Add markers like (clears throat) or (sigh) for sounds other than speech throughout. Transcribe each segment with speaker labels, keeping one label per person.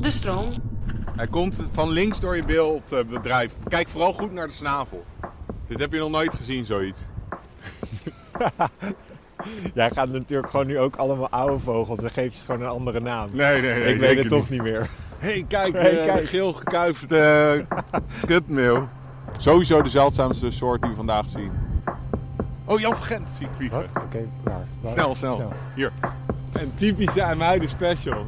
Speaker 1: De stroom.
Speaker 2: Hij komt van links door je beeldbedrijf. Kijk vooral goed naar de snavel. Dit heb je nog nooit gezien, zoiets.
Speaker 3: Jij gaat natuurlijk gewoon nu ook allemaal oude vogels. Dan geef je ze gewoon een andere naam.
Speaker 2: Nee, nee, nee.
Speaker 3: ik weet het toch niet meer.
Speaker 2: Hé, hey, kijk,
Speaker 3: Hey,
Speaker 2: eh,
Speaker 3: kijk.
Speaker 2: geel gekuifde eh, kutmeel. Sowieso de zeldzaamste soort die we vandaag zien. Oh, Jan van Gent zie ik vliegen.
Speaker 3: Oké, waar? Waar?
Speaker 2: Snel, snel, Hier. Een typische IJmuiden special.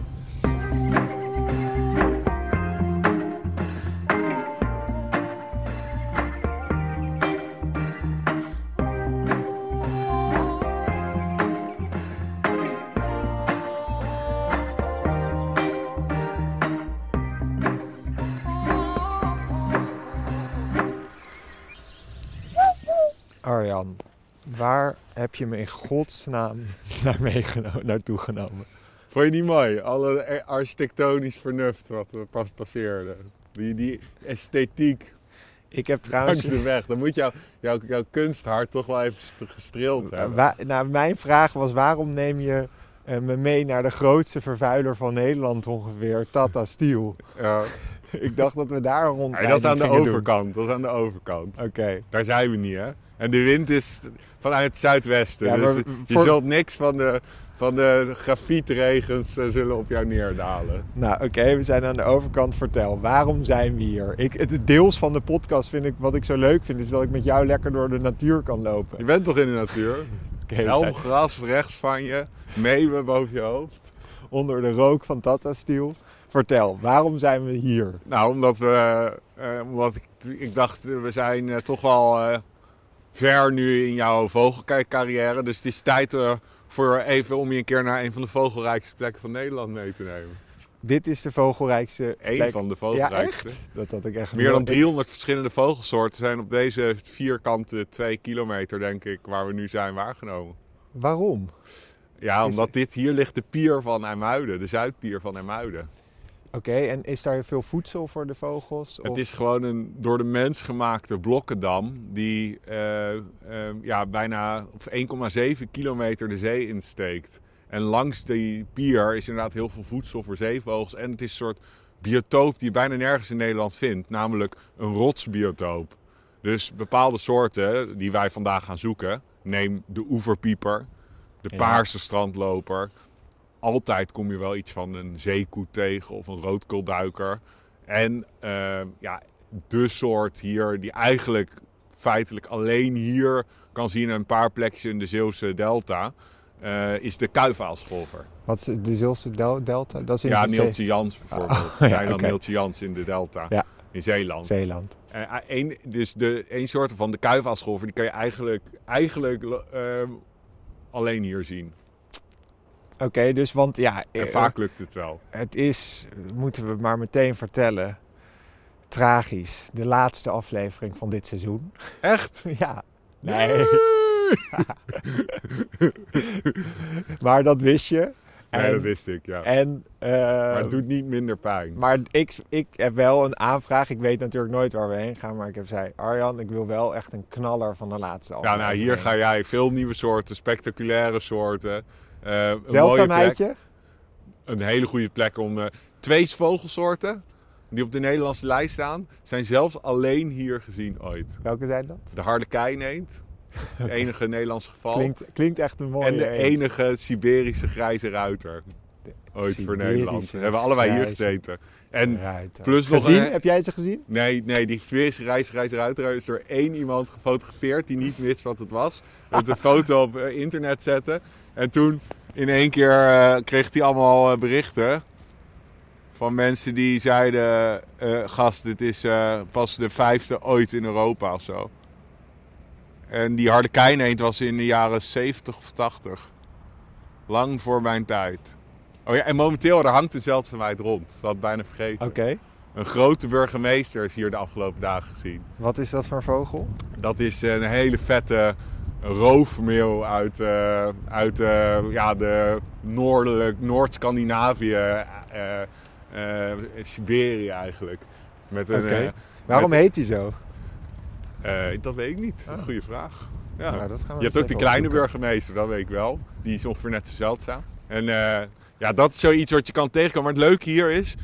Speaker 3: Arjan, waar heb je me in godsnaam (laughs) naar meegeno- naartoe genomen?
Speaker 2: Vond je niet mooi? Alle er- architectonisch vernuft wat we pas passeerden. Die, die esthetiek
Speaker 3: Ik heb trouwens...
Speaker 2: langs de weg. Dan moet jou, jou, jouw kunsthart toch wel even st- gestreeld hebben.
Speaker 3: Wa- nou, mijn vraag was waarom neem je eh, me mee naar de grootste vervuiler van Nederland ongeveer, Tata Steel?
Speaker 2: Ja.
Speaker 3: Ik dacht dat we daar rond.
Speaker 2: Ja, dat is aan de overkant. Dat is aan de overkant.
Speaker 3: Oké.
Speaker 2: Daar zijn we niet, hè? En de wind is vanuit het zuidwesten.
Speaker 3: Ja,
Speaker 2: dus
Speaker 3: maar
Speaker 2: je
Speaker 3: voor-
Speaker 2: zult niks van de, van de grafietregens eh, zullen op jou neerdalen.
Speaker 3: Nou, oké, we zijn aan de overkant. Vertel, waarom zijn we hier? Ik, het deels van de podcast vind ik wat ik zo leuk vind, is dat ik met jou lekker door de natuur kan lopen.
Speaker 2: Je bent toch in de natuur?
Speaker 3: Oké, we
Speaker 2: Helm
Speaker 3: zijn
Speaker 2: gras rechts van je, meeuwen boven je hoofd.
Speaker 3: onder de rook van Tata Steel. Vertel, waarom zijn we hier?
Speaker 2: Nou, omdat we. eh, omdat ik, ik dacht, eh, we zijn eh, toch wel eh, ver nu in jouw vogelkijkcarrière. Dus het is tijd eh, voor even om je een keer naar een van de vogelrijkste plekken van Nederland mee te nemen.
Speaker 3: Dit is de vogelrijkste
Speaker 2: Eén
Speaker 3: plek.
Speaker 2: van de
Speaker 3: Ja,
Speaker 2: vogelrijkste.
Speaker 3: echt? Dat had ik echt
Speaker 2: Meer dan
Speaker 3: nooit-
Speaker 2: 300 verschillende vogelsoorten zijn op deze vierkante 2 kilometer, denk ik, waar we nu zijn waargenomen.
Speaker 3: Waarom?
Speaker 2: Ja,
Speaker 3: Is-
Speaker 2: omdat dit hier ligt de pier van IJmuiden, de zuidpier van IJmuiden.
Speaker 3: Oké, en is daar veel voedsel voor de vogels?
Speaker 2: Het
Speaker 3: Of-
Speaker 2: is gewoon een door de mens gemaakte blokkendam die eh, eh, ja, bijna of 1,7 kilometer de zee insteekt. En langs die pier is inderdaad heel veel voedsel voor zeevogels. En het is een soort biotoop die je bijna nergens in Nederland vindt, namelijk een rotsbiotoop. Dus bepaalde soorten die wij vandaag gaan zoeken, neem de oeverpieper, de
Speaker 3: Ja.
Speaker 2: paarse strandloper. Altijd kom je wel iets van een zeekoe tegen of een roodkoolduiker. En eh, ja, de soort hier die eigenlijk feitelijk alleen hier kan zien in een paar plekjes in de Zeeuwse delta, eh, is de kuifaalscholver.
Speaker 3: Wat is de Zeelse del- Delta? Dat is in
Speaker 2: Ja,
Speaker 3: de Zee-
Speaker 2: Neeltje Jans bijvoorbeeld.
Speaker 3: Ah, (laughs) ja,
Speaker 2: Zijn dan
Speaker 3: oké.
Speaker 2: Neeltje Jans in de delta,
Speaker 3: Ja.
Speaker 2: in Zeeland.
Speaker 3: Zeeland.
Speaker 2: Eh, één- dus de één soort van de kuifaalscholver, die kan je eigenlijk, eigenlijk eh, alleen hier zien.
Speaker 3: Oké, dus want ja,
Speaker 2: En
Speaker 3: eh,
Speaker 2: vaak lukt het wel.
Speaker 3: het is, moeten we maar meteen vertellen, tragisch. De laatste aflevering van dit seizoen. (laughs)
Speaker 2: Echt?
Speaker 3: ja. (laughs) Nee, maar dat wist je.
Speaker 2: Nee, dat wist ik, ja.
Speaker 3: En, eh,
Speaker 2: Maar het doet niet minder pijn.
Speaker 3: Maar ik, ik heb wel een aanvraag. Ik weet natuurlijk nooit waar we heen gaan. Maar ik heb zei, Arjan, ik wil wel echt een knaller van de laatste
Speaker 2: Ja,
Speaker 3: aflevering.
Speaker 2: nou, hier ga jij veel nieuwe soorten, spectaculaire soorten. eh, een mooie plek,
Speaker 3: Zeldzaamheidje?
Speaker 2: een hele goede plek om... eh, twee vogelsoorten die op de Nederlandse lijst staan, zijn zelfs alleen hier gezien ooit.
Speaker 3: Welke zijn dat?
Speaker 2: De
Speaker 3: (laughs)
Speaker 2: harlekijneend, het enige Nederlandse geval.
Speaker 3: Klinkt, klinkt echt een mooie
Speaker 2: en de
Speaker 3: eend.
Speaker 2: enige Siberische grijze ruiter ooit voor
Speaker 3: Siberische
Speaker 2: Nederland. We hebben allebei hier
Speaker 3: grijze
Speaker 2: gezeten. En
Speaker 3: Ruiter.
Speaker 2: plus nog
Speaker 3: gezien?
Speaker 2: een-
Speaker 3: Heb jij ze gezien?
Speaker 2: Nee, nee, die Siberische reisreizer uiteraard is door één iemand gefotografeerd die niet wist wat het was. Met een foto op eh, internet zetten. En toen in één keer eh, kreeg hij allemaal eh, berichten van mensen die zeiden: eh, Gast, dit is eh, pas de vijfde ooit in Europa of zo. En die Harlekijneend was in de jaren 70 of 80. Lang voor mijn tijd. Oh ja, en momenteel, daar hangt de zeldzaamheid rond. Dat had ik bijna vergeten.
Speaker 3: Oké.
Speaker 2: Een grote burgemeester is hier de afgelopen dagen gezien.
Speaker 3: Wat is dat voor vogel?
Speaker 2: Dat is een hele vette roofmeel uit, eh, uit eh, ja, de noordelijk, Noord-Scandinavië, eh, eh, Siberië eigenlijk. Met een,
Speaker 3: Oké.
Speaker 2: eh,
Speaker 3: Waarom
Speaker 2: met-
Speaker 3: heet hij zo?
Speaker 2: eh, dat weet ik niet. Goeie vraag. Ja.
Speaker 3: Ah. Nou, dat gaan we
Speaker 2: Je
Speaker 3: eens
Speaker 2: hebt ook de
Speaker 3: even
Speaker 2: kleine
Speaker 3: opzoeken.
Speaker 2: burgemeester, dat weet ik wel. Die is ongeveer net zo zeldzaam. En eh, ja, dat is zoiets wat je kan tegenkomen. Maar het leuke hier is,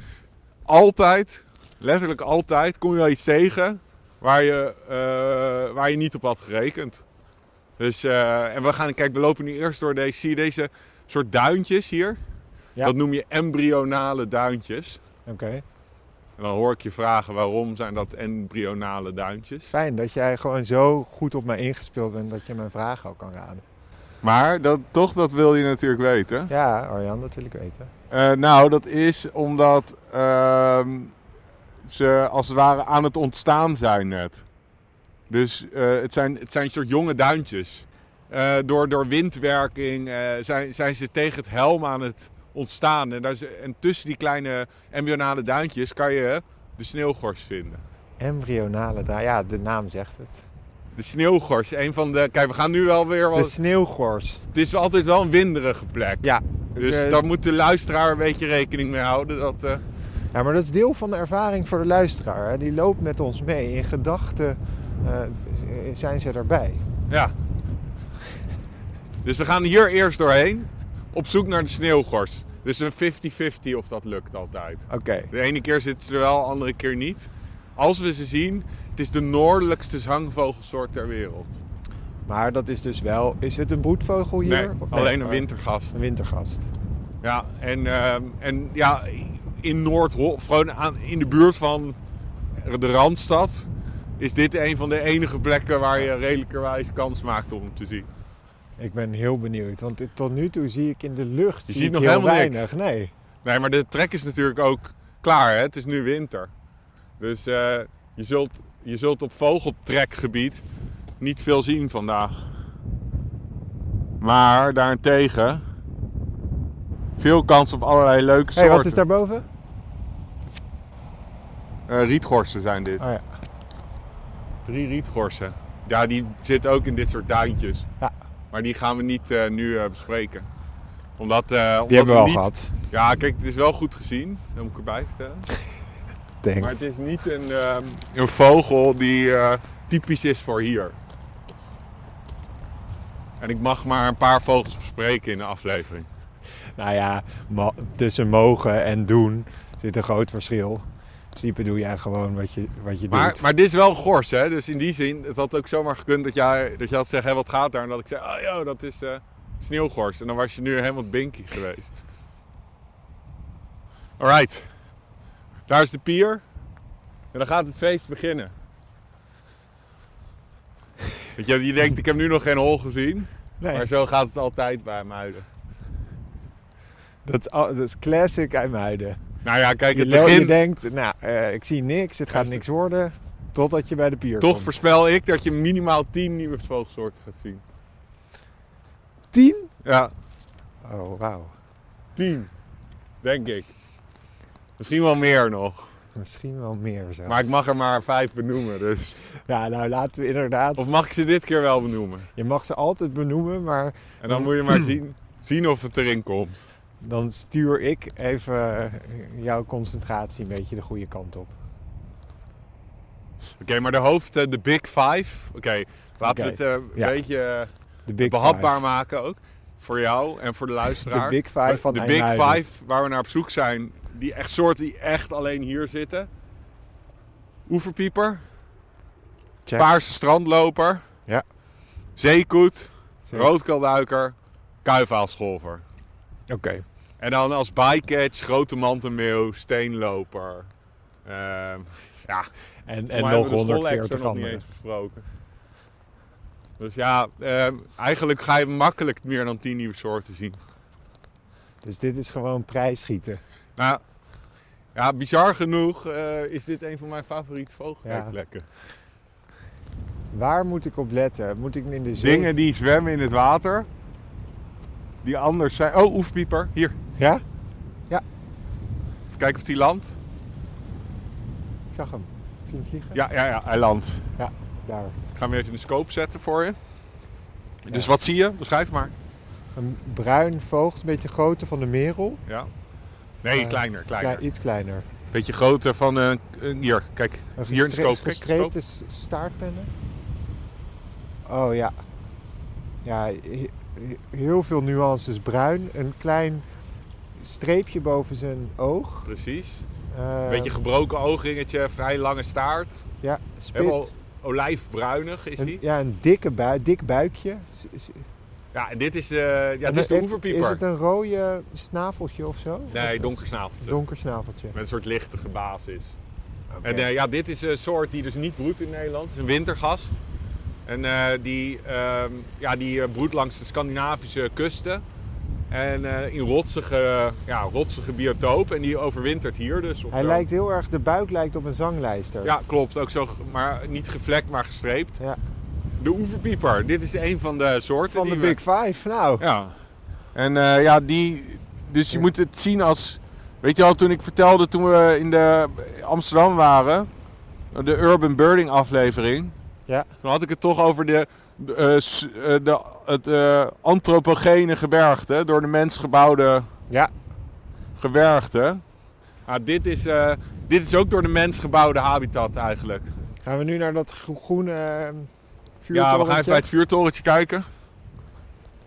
Speaker 2: altijd, letterlijk altijd, kom je wel iets tegen waar je, eh, waar je niet op had gerekend. Dus, eh, en we gaan, kijk, we lopen nu eerst door deze, zie je deze soort duintjes hier?
Speaker 3: Ja.
Speaker 2: Dat noem je embryonale duintjes.
Speaker 3: Oké.
Speaker 2: En dan hoor ik je vragen waarom zijn dat embryonale duintjes.
Speaker 3: Fijn dat jij gewoon zo goed op mij ingespeeld bent dat je mijn vragen ook kan raden.
Speaker 2: Maar dat, toch, dat wil je natuurlijk weten.
Speaker 3: Ja, Arjan, dat wil ik weten.
Speaker 2: Eh, nou, dat is omdat ehm, ze als het ware aan het ontstaan zijn net. Dus eh, het, zijn, het zijn een soort jonge duintjes. Eh, door, door windwerking eh, zijn, zijn ze tegen het helm aan het ontstaan. En, daar is, en tussen die kleine embryonale duintjes kan je de sneeuwgors vinden.
Speaker 3: Embryonale, nou ja, de naam zegt het.
Speaker 2: De sneeuwgors, een van de... Kijk, we gaan nu wel weer...
Speaker 3: De
Speaker 2: Wat,
Speaker 3: sneeuwgors.
Speaker 2: het is altijd wel een winderige plek.
Speaker 3: Dus- Ja.
Speaker 2: Dus
Speaker 3: de-
Speaker 2: daar moet de luisteraar een beetje rekening mee houden. Dat, eh,
Speaker 3: Ja, maar dat is deel van de ervaring voor de luisteraar. Hè. Die loopt met ons mee. In gedachten eh, zijn ze erbij.
Speaker 2: Ja. Dus we gaan hier eerst doorheen op zoek naar de sneeuwgors. Dus een 50-50 of dat lukt altijd.
Speaker 3: Oké.
Speaker 2: De ene keer zitten ze er wel, de andere keer niet. Als we ze zien, het is de noordelijkste zangvogelsoort ter wereld.
Speaker 3: Maar dat is dus wel... Is het een broedvogel hier?
Speaker 2: Nee,
Speaker 3: Of
Speaker 2: alleen een
Speaker 3: maar-
Speaker 2: wintergast.
Speaker 3: Een wintergast.
Speaker 2: Ja, en, ehm, en ja, in Noord-Holland, gewoon aan- in de buurt van de Randstad, is dit een van de enige plekken waar je redelijkerwijs kans maakt om hem te zien.
Speaker 3: Ik ben heel benieuwd, want dit- tot nu toe zie ik in de lucht
Speaker 2: Je
Speaker 3: zie
Speaker 2: ziet
Speaker 3: ik
Speaker 2: nog
Speaker 3: heel
Speaker 2: helemaal niks.
Speaker 3: weinig. Nee.
Speaker 2: Nee, maar de trek is natuurlijk ook klaar. Hè? Het is nu winter. Dus eh, je, zult, je zult op vogeltrekgebied niet veel zien vandaag. Maar daarentegen veel kans op allerlei leuke
Speaker 3: Hé, hey,
Speaker 2: soorten.
Speaker 3: wat is daarboven?
Speaker 2: Eh, rietgorsen zijn dit.
Speaker 3: Oh ja.
Speaker 2: Drie rietgorsen. Ja, die zitten ook in dit soort duintjes.
Speaker 3: Ja.
Speaker 2: Maar die gaan we niet eh, nu eh, bespreken. Omdat, eh, omdat
Speaker 3: Die hebben
Speaker 2: we
Speaker 3: we al
Speaker 2: niet...
Speaker 3: gehad.
Speaker 2: Ja, kijk, het is wel goed gezien. Dat moet ik erbij vertellen. Maar
Speaker 3: Thanks.
Speaker 2: het is niet een, ehm, een vogel die eh, typisch is voor hier. En ik mag maar een paar vogels bespreken in de aflevering.
Speaker 3: Nou ja, ma- tussen mogen en doen zit een groot verschil. In principe doe jij gewoon wat je, wat je
Speaker 2: Maar,
Speaker 3: doet.
Speaker 2: maar dit is wel een gors, hè? Dus in die zin, het had ook zomaar gekund dat jij, dat jij had gezegd, hé, wat gaat daar? En dat ik zei, oh joh, dat is eh, sneeuwgors. En dan was je nu helemaal binky geweest. Alright. Daar is de pier. En dan gaat het feest beginnen. Weet je, je denkt, ik heb nu nog geen hol gezien.
Speaker 3: Nee,
Speaker 2: Maar zo gaat het altijd bij Muiden.
Speaker 3: dat, is al- dat is classic IJmuiden.
Speaker 2: Nou ja, kijk,
Speaker 3: Je,
Speaker 2: het
Speaker 3: lo- je
Speaker 2: begin...
Speaker 3: denkt, nou, eh, ik zie niks, het gaat
Speaker 2: Ja,
Speaker 3: niks worden, totdat je bij de pier
Speaker 2: Toch
Speaker 3: komt.
Speaker 2: voorspel ik dat je minimaal 10 nieuwe vogelsoorten gaat zien.
Speaker 3: tien?
Speaker 2: Ja,
Speaker 3: Oh, wauw.
Speaker 2: 10. Denk ik. Misschien wel meer nog.
Speaker 3: Misschien wel meer zelfs.
Speaker 2: Maar ik mag er maar 5 benoemen, dus...
Speaker 3: Ja, nou laten we inderdaad...
Speaker 2: Of mag ik ze dit keer wel benoemen?
Speaker 3: Je mag ze altijd benoemen, maar
Speaker 2: En dan moet je (clears throat) maar zien, zien of het erin komt.
Speaker 3: Dan stuur ik even eh, jouw concentratie een beetje de goede kant op.
Speaker 2: Oké, maar de hoofd, eh, de Big Five. Oké, laten
Speaker 3: Oké,
Speaker 2: we het eh, een
Speaker 3: ja.
Speaker 2: beetje eh,
Speaker 3: De Big
Speaker 2: behapbaar
Speaker 3: Five.
Speaker 2: maken ook. Voor jou en voor de luisteraar.
Speaker 3: De Big Five van
Speaker 2: de Big
Speaker 3: IJmuiden.
Speaker 2: Five waar we naar op zoek zijn, die echt soorten die echt alleen hier zitten. Oeverpieper,
Speaker 3: Check.
Speaker 2: paarse strandloper,
Speaker 3: Ja.
Speaker 2: zeekoet,
Speaker 3: Zeker.
Speaker 2: roodkalduiker, kuifaalscholver.
Speaker 3: Oké.
Speaker 2: En dan als bycatch grote mantenmeeuw, steenloper. Ehm, ja,
Speaker 3: En,
Speaker 2: en
Speaker 3: en
Speaker 2: nog
Speaker 3: nog
Speaker 2: hebben we de schoolextra nog
Speaker 3: 140
Speaker 2: niet
Speaker 3: anderen.
Speaker 2: eens besproken. Dus ja, ehm, eigenlijk ga je makkelijk meer dan 10 nieuwe soorten zien.
Speaker 3: Dus dit is gewoon prijsschieten.
Speaker 2: Nou, ja, bizar genoeg eh, is dit een van mijn favoriete vogelkijkplekken.
Speaker 3: Waar moet ik op letten? Moet ik in de zee?
Speaker 2: Dingen die zwemmen in het water, die anders zijn. Oh, oefpieper, hier.
Speaker 3: Ja?
Speaker 2: Even kijken of die landt.
Speaker 3: Ik zag hem. Zie je hem vliegen?
Speaker 2: Ja, ja, ja, hij landt.
Speaker 3: Daar.
Speaker 2: Ik ga hem even in de scope zetten voor je. Dus wat zie je? Beschrijf maar.
Speaker 3: Een bruin voogd, een beetje groter van de merel.
Speaker 2: Ja. Nee,
Speaker 3: Eh,
Speaker 2: kleiner, kleiner.
Speaker 3: Ja, iets kleiner.
Speaker 2: Beetje groter van. eh, eh, hier, kijk.
Speaker 3: Een
Speaker 2: Hier in de
Speaker 3: gestre-
Speaker 2: scope. Kijk,
Speaker 3: Gestreepte s- staartpennen. Oh ja. Ja, he- he- heel veel nuances bruin. Een klein streepje boven zijn oog.
Speaker 2: Precies.
Speaker 3: Eh,
Speaker 2: Beetje gebroken oogringetje, vrij lange staart.
Speaker 3: ja, spit.
Speaker 2: Helemaal olijfbruinig is
Speaker 3: Een-
Speaker 2: die.
Speaker 3: ja, een dikke bui, dik buikje. S- s-
Speaker 2: Ja, en dit is, eh, ja, dit is de
Speaker 3: Heeft-
Speaker 2: oeverpieper.
Speaker 3: Is het een rode snaveltje of zo?
Speaker 2: Nee,
Speaker 3: donker.
Speaker 2: donker snaveltje.
Speaker 3: Donker snaveltje.
Speaker 2: Met een soort lichtige basis.
Speaker 3: Oké.
Speaker 2: En eh, ja, dit is een soort die dus niet broedt in Nederland. Het is een wintergast. En eh, die, ehm, ja, die eh, broedt langs de Scandinavische kusten. En eh, in rotsige, ja, rotsige biotoop. En die overwintert hier dus. of
Speaker 3: Hij
Speaker 2: zo.
Speaker 3: lijkt heel erg, de buik lijkt op een zanglijster.
Speaker 2: Ja, klopt. Ook zo, ge- maar niet gevlekt, maar gestreept.
Speaker 3: Ja.
Speaker 2: De oeverpieper. Dit is een van de soorten.
Speaker 3: Van de
Speaker 2: die
Speaker 3: Big Five, nou.
Speaker 2: we... Ja. En eh, ja, die... Dus je
Speaker 3: Ja.
Speaker 2: moet het zien als... Weet je al, toen ik vertelde toen we in de Amsterdam waren... De Urban Birding aflevering...
Speaker 3: Ja.
Speaker 2: Toen had ik het toch over de, de, eh, s- eh, de, het eh, antropogene gebergte. Door de mens gebouwde
Speaker 3: Ja.
Speaker 2: gebergte. Ah, dit, is, eh, dit is ook door de mens gebouwde habitat eigenlijk.
Speaker 3: Gaan we nu naar dat gro- groene eh,
Speaker 2: Ja, we gaan
Speaker 3: vuurtorentje?
Speaker 2: even bij het vuurtorentje kijken.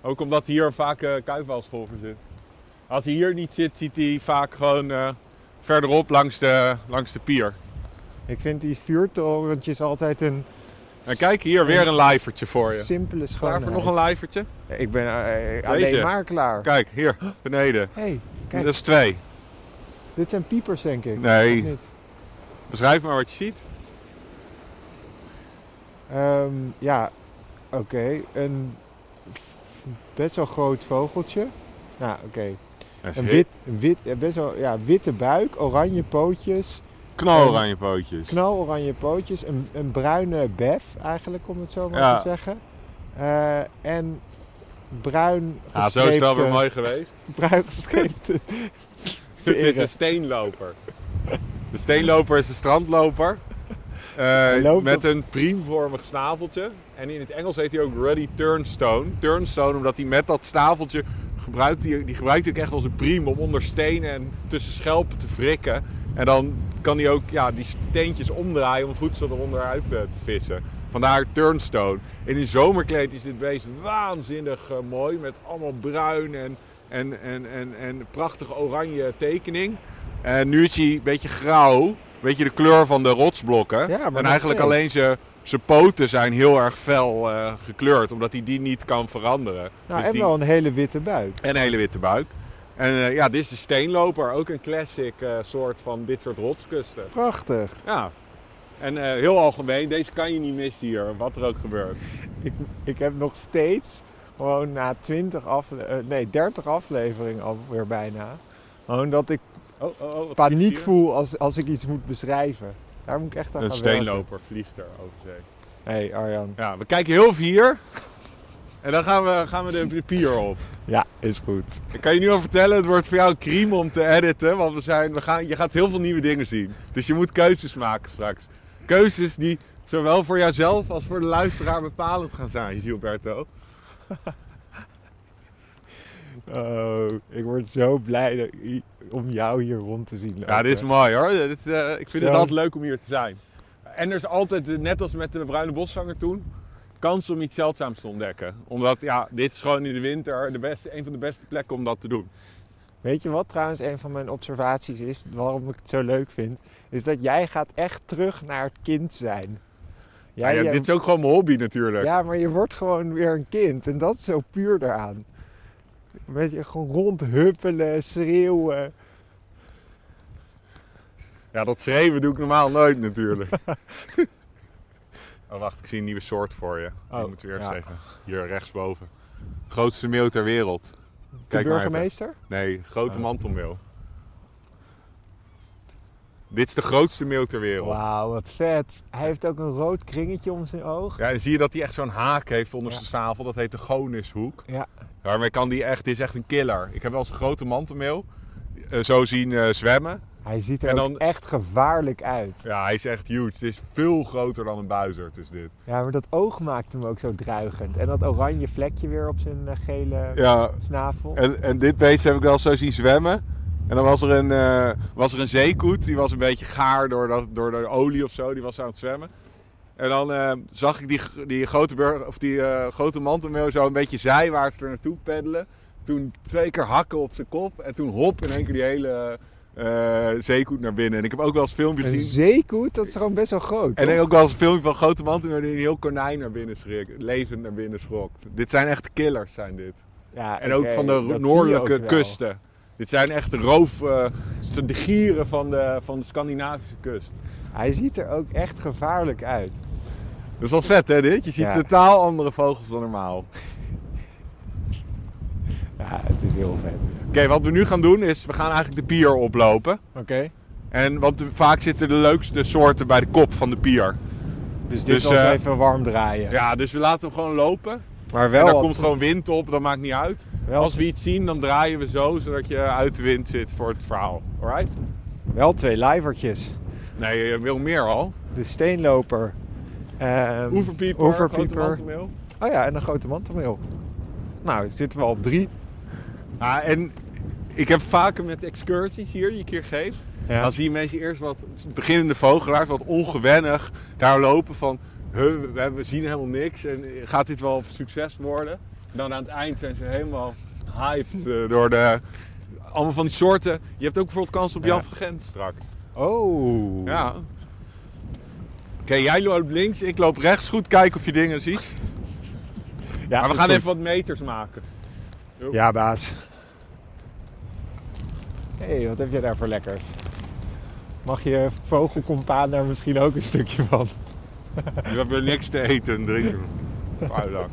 Speaker 2: Ook omdat hier vaak eh kuifwaalscholver zit. Als hij hier niet zit, ziet hij vaak gewoon eh, verderop langs de, langs de pier.
Speaker 3: Ik vind die vuurtorentjes altijd een
Speaker 2: En kijk, hier weer een lijvertje voor je.
Speaker 3: simpele
Speaker 2: Klaar
Speaker 3: schoonheid.
Speaker 2: voor nog een lijvertje?
Speaker 3: Ik ben eh, alleen
Speaker 2: Deze.
Speaker 3: maar klaar.
Speaker 2: Kijk, hier, beneden.
Speaker 3: hey,
Speaker 2: Dat
Speaker 3: Kijk.
Speaker 2: is twee.
Speaker 3: dit zijn piepers denk ik.
Speaker 2: Nee.
Speaker 3: Of niet?
Speaker 2: Beschrijf maar wat je ziet.
Speaker 3: Ehm, ja, oké. Een f- best wel groot vogeltje. Nou, oké.
Speaker 2: Dat is
Speaker 3: Een
Speaker 2: heel-
Speaker 3: wit, een wit, eh, best wel, ja, witte buik, oranje pootjes,
Speaker 2: Knaloranje
Speaker 3: eh,
Speaker 2: pootjes.
Speaker 3: knaloranje pootjes, een, een bruine bef eigenlijk, om het zo maar
Speaker 2: Ja.
Speaker 3: te zeggen. Eh, en bruin
Speaker 2: Ja, zo is het alweer
Speaker 3: gestreepte-
Speaker 2: mooi
Speaker 3: (laughs)
Speaker 2: Dus geweest.
Speaker 3: Bruin
Speaker 2: (laughs)
Speaker 3: gestreepte
Speaker 2: Het is
Speaker 3: veren.
Speaker 2: een steenloper. De steenloper is een strandloper. Eh,
Speaker 3: Hij loopt
Speaker 2: met
Speaker 3: op-
Speaker 2: een priemvormig snaveltje. En in het Engels heet hij ook ruddy turnstone. Turnstone omdat hij met dat snaveltje gebruikt, hij, die gebruikt hij ook echt als een priem om onder stenen en tussen schelpen te wrikken. En dan kan hij ook ja, die steentjes omdraaien om voedsel eronder uit eh, te vissen. Vandaar turnstone. En in zomerkleed is dit beest waanzinnig eh, mooi met allemaal bruin en, en, en, en, en prachtige oranje tekening. En nu is hij een beetje grauw. Beetje de kleur van de rotsblokken.
Speaker 3: Ja, maar
Speaker 2: en
Speaker 3: nog
Speaker 2: eigenlijk
Speaker 3: steeds.
Speaker 2: alleen zijn zijn poten zijn heel erg fel eh, gekleurd. Omdat hij die niet kan veranderen.
Speaker 3: Nou,
Speaker 2: Dus
Speaker 3: en
Speaker 2: die-
Speaker 3: wel een hele witte buik.
Speaker 2: en een hele witte buik. En eh, ja, dit is de steenloper. Ook een classic eh, soort van dit soort rotskusten.
Speaker 3: Prachtig.
Speaker 2: Ja. En eh, heel algemeen, deze kan je niet missen hier, wat er ook gebeurt.
Speaker 3: Ik, ik heb nog steeds, gewoon na 20 afle- eh, nee, 30 afleveringen alweer bijna, gewoon dat ik
Speaker 2: Oh, oh, oh, wat vliegt
Speaker 3: paniek
Speaker 2: hier?
Speaker 3: voel als, als ik iets moet beschrijven. Daar moet ik echt aan
Speaker 2: Een
Speaker 3: gaan
Speaker 2: steenloper vliegt er over zee.
Speaker 3: Hé hey Arjan.
Speaker 2: Ja, we kijken heel veel hier. En dan gaan we, gaan we de, de pier op.
Speaker 3: Ja, is goed.
Speaker 2: Ik kan je nu al vertellen, het wordt voor jou een crime om te editen. Want we zijn, we gaan, je gaat heel veel nieuwe dingen zien. Dus je moet keuzes maken straks. Keuzes die zowel voor jouzelf als voor de luisteraar bepalend gaan zijn, Gilberto.
Speaker 3: Oh, ik word zo blij dat- i- om jou hier rond te zien lopen.
Speaker 2: Ja, dit is mooi hoor. Dit, eh, ik vind het
Speaker 3: Zo.
Speaker 2: altijd leuk om hier te zijn. En er is altijd, eh, net als met de bruine boszanger toen, kans om iets zeldzaams te ontdekken. Omdat, ja, dit is gewoon in de winter de beste, een van de beste plekken om dat te doen.
Speaker 3: Weet je wat trouwens een van mijn observaties is, waarom ik het zo leuk vind? Is dat jij gaat echt terug naar het kind zijn.
Speaker 2: Ah, Ja,
Speaker 3: Jij, jij-
Speaker 2: Dit is ook gewoon mijn hobby natuurlijk.
Speaker 3: ja, maar je wordt gewoon weer een kind. En dat is zo puur daaraan. Weet je, gewoon rondhuppelen, schreeuwen.
Speaker 2: Ja, dat schreeuwen doe ik normaal nooit natuurlijk. (laughs) oh, wacht, ik zie een nieuwe soort voor je. Die
Speaker 3: Oh,
Speaker 2: moeten we eerst
Speaker 3: ja.
Speaker 2: even. Hier rechtsboven. Grootste meeuw ter wereld.
Speaker 3: De
Speaker 2: Kijk maar even.
Speaker 3: burgemeester?
Speaker 2: Nee, grote
Speaker 3: Oh.
Speaker 2: mantelmeel. Dit is de grootste meeuw ter wereld.
Speaker 3: Wauw, wat vet. Hij heeft ook een rood kringetje om zijn oog.
Speaker 2: Ja, en zie je dat hij echt zo'n haak heeft onder
Speaker 3: Ja.
Speaker 2: zijn snavel. Dat heet de gonishoek.
Speaker 3: Ja.
Speaker 2: Daarmee kan die echt, dit is echt een killer. Ik heb wel eens een grote mantelmeel eh, zo zien eh, zwemmen.
Speaker 3: Hij ziet er
Speaker 2: En
Speaker 3: ook
Speaker 2: dan-
Speaker 3: echt gevaarlijk uit.
Speaker 2: Ja, hij is echt huge. Het is veel groter dan een buizerd is dit.
Speaker 3: Ja, maar dat oog maakt hem ook zo druigend. En dat oranje vlekje weer op zijn eh, gele
Speaker 2: Ja,
Speaker 3: snavel.
Speaker 2: En, en dit beest heb ik wel zo zien zwemmen. En dan was er een, eh, was er een zeekoet, die was een beetje gaar door, dat, door de olie of zo, die was aan het zwemmen. En dan eh, zag ik die, g- die grote, bur- of die, eh, grote mantelmeel zo een beetje zijwaarts er naartoe peddelen. Toen twee keer hakken op zijn kop en toen hop in één keer die hele eh, zeekoet naar binnen. En ik heb ook wel eens een filmpje
Speaker 3: Een
Speaker 2: gezien.
Speaker 3: zeekoet, dat is gewoon best wel groot.
Speaker 2: En
Speaker 3: toch?
Speaker 2: ook wel eens een filmpje van grote manten die een heel konijn naar binnen schrik, levend naar binnen schrokt. Dit zijn echt killers, zijn dit.
Speaker 3: ja,
Speaker 2: En ook
Speaker 3: oké,
Speaker 2: van de
Speaker 3: dat zie je
Speaker 2: noordelijke
Speaker 3: ook wel.
Speaker 2: kusten. Dit zijn echt roof, eh, de gieren van de, van de Scandinavische kust.
Speaker 3: Hij ziet er ook echt gevaarlijk uit.
Speaker 2: Dat is wel vet, hè, dit? Je ziet
Speaker 3: Ja.
Speaker 2: totaal andere vogels dan normaal.
Speaker 3: Ja, het is heel vet.
Speaker 2: Oké, wat we nu gaan doen is, we gaan eigenlijk de pier oplopen.
Speaker 3: Oké.
Speaker 2: En, want de- vaak zitten de leukste soorten bij de kop van de pier.
Speaker 3: Dus dit
Speaker 2: Dus,
Speaker 3: was
Speaker 2: eh,
Speaker 3: even warm draaien.
Speaker 2: Ja, dus we laten hem gewoon lopen.
Speaker 3: Maar
Speaker 2: en
Speaker 3: wel,
Speaker 2: daar
Speaker 3: op-
Speaker 2: komt gewoon wind op, dat maakt niet uit.
Speaker 3: wel,
Speaker 2: Als we iets zien, dan draaien we zo, zodat je uit de wind zit voor het verhaal. Alright?
Speaker 3: wel twee lijvertjes.
Speaker 2: Nee, je wil meer al.
Speaker 3: De steenloper. ehm,
Speaker 2: Oeverpieper,
Speaker 3: oeverpieper.
Speaker 2: grote mantelmeel.
Speaker 3: Oh ja, en een grote mantelmeel. Nou, zitten we op drie.
Speaker 2: Ah, en ik heb vaker met excursies hier die ik hier geef.
Speaker 3: Ja.
Speaker 2: Dan zie je mensen eerst wat beginnende vogelaars, wat ongewennig daar lopen van... "Huh, we, hebben- we zien helemaal niks en gaat dit wel succes worden? En dan aan het eind zijn ze helemaal hyped eh, door de... Allemaal van die soorten. Je hebt ook bijvoorbeeld kans op Jan
Speaker 3: Ja.
Speaker 2: van Gent straks.
Speaker 3: Oh.
Speaker 2: Ja. Oké, jij loopt links, ik loop rechts. Goed kijken of je dingen ziet.
Speaker 3: Ja,
Speaker 2: maar we
Speaker 3: is
Speaker 2: gaan
Speaker 3: goed.
Speaker 2: even wat meters maken.
Speaker 3: Ja, baas. Hé, hey, wat heb jij daar voor lekkers? Mag je vogelcompaan daar misschien ook een stukje van?
Speaker 2: We hebben niks te eten en
Speaker 3: (laughs)
Speaker 2: drinken. Vuilak.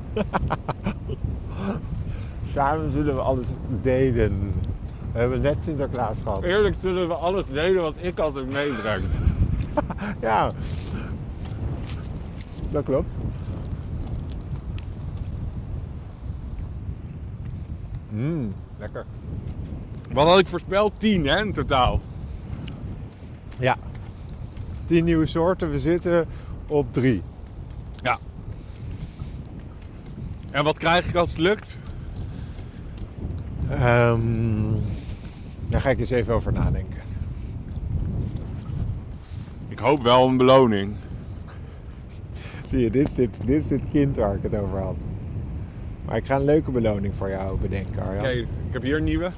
Speaker 3: Samen zullen we alles delen. We hebben net Sinterklaas gehad.
Speaker 2: Eerlijk zullen we alles delen wat ik altijd meebreng.
Speaker 3: Ja. Dat klopt. Mmm, lekker.
Speaker 2: Wat had ik voorspeld? 10 hè, in totaal.
Speaker 3: Ja. 10 nieuwe soorten, we zitten op drie.
Speaker 2: Ja. En wat krijg ik als het lukt?
Speaker 3: Ehm daar ga ik eens even over nadenken.
Speaker 2: Ik hoop wel een beloning.
Speaker 3: Zie je, dit is dit, dit is dit kind waar ik het over had. Maar ik ga een leuke beloning voor jou bedenken, Arjan.
Speaker 2: Oké, ik heb hier een nieuwe.